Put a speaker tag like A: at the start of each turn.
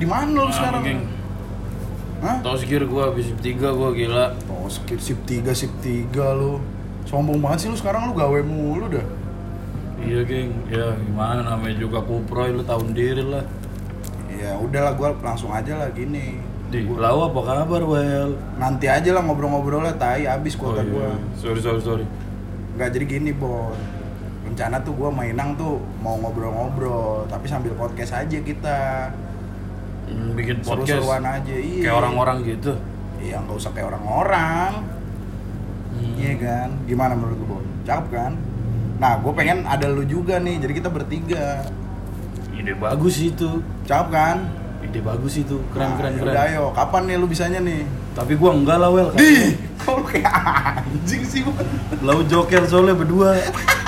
A: di mana lu
B: Nah,
A: sekarang?
B: geng.
A: Hah?
B: Toskir gua habis tiga gua gila.
A: Oh, skip sip 3, sip 3 lu. Sombong banget sih lu sekarang lu gawe mulu dah.
B: Iya geng, ya gimana namanya juga kuproy lu tahun diri lah.
A: Ya udahlah gua langsung aja lah gini.
B: Di lau apa kabar Wel?
A: Nanti aja lah ngobrol-ngobrolnya tai habis
B: Oh,
A: kuota
B: iya.
A: gua.
B: Sorry sorry sorry.
A: Nggak jadi gini, Bon. Rencana tuh gua mainang tuh mau ngobrol-ngobrol, tapi sambil podcast aja kita.
B: Hmm, bikin podcast
A: Seru-seruan aja. Iya.
B: kayak orang-orang gitu.
A: Iya, nggak usah kayak orang-orang.
B: Hmm.
A: Iya kan? Gimana menurut lu, Bon? Cakep kan? Nah, gue pengen ada lu juga nih, jadi kita bertiga.
B: Ide bagus itu.
A: Cakep kan?
B: Ide bagus itu. Keren
A: Nah,
B: keren keren.
A: Udah ayo, kapan nih lu bisanya nih?
B: Tapi gua enggak lah Wel.
A: Di, kok lu kayak anjing sih, Bon?
B: Lau joker soalnya berdua.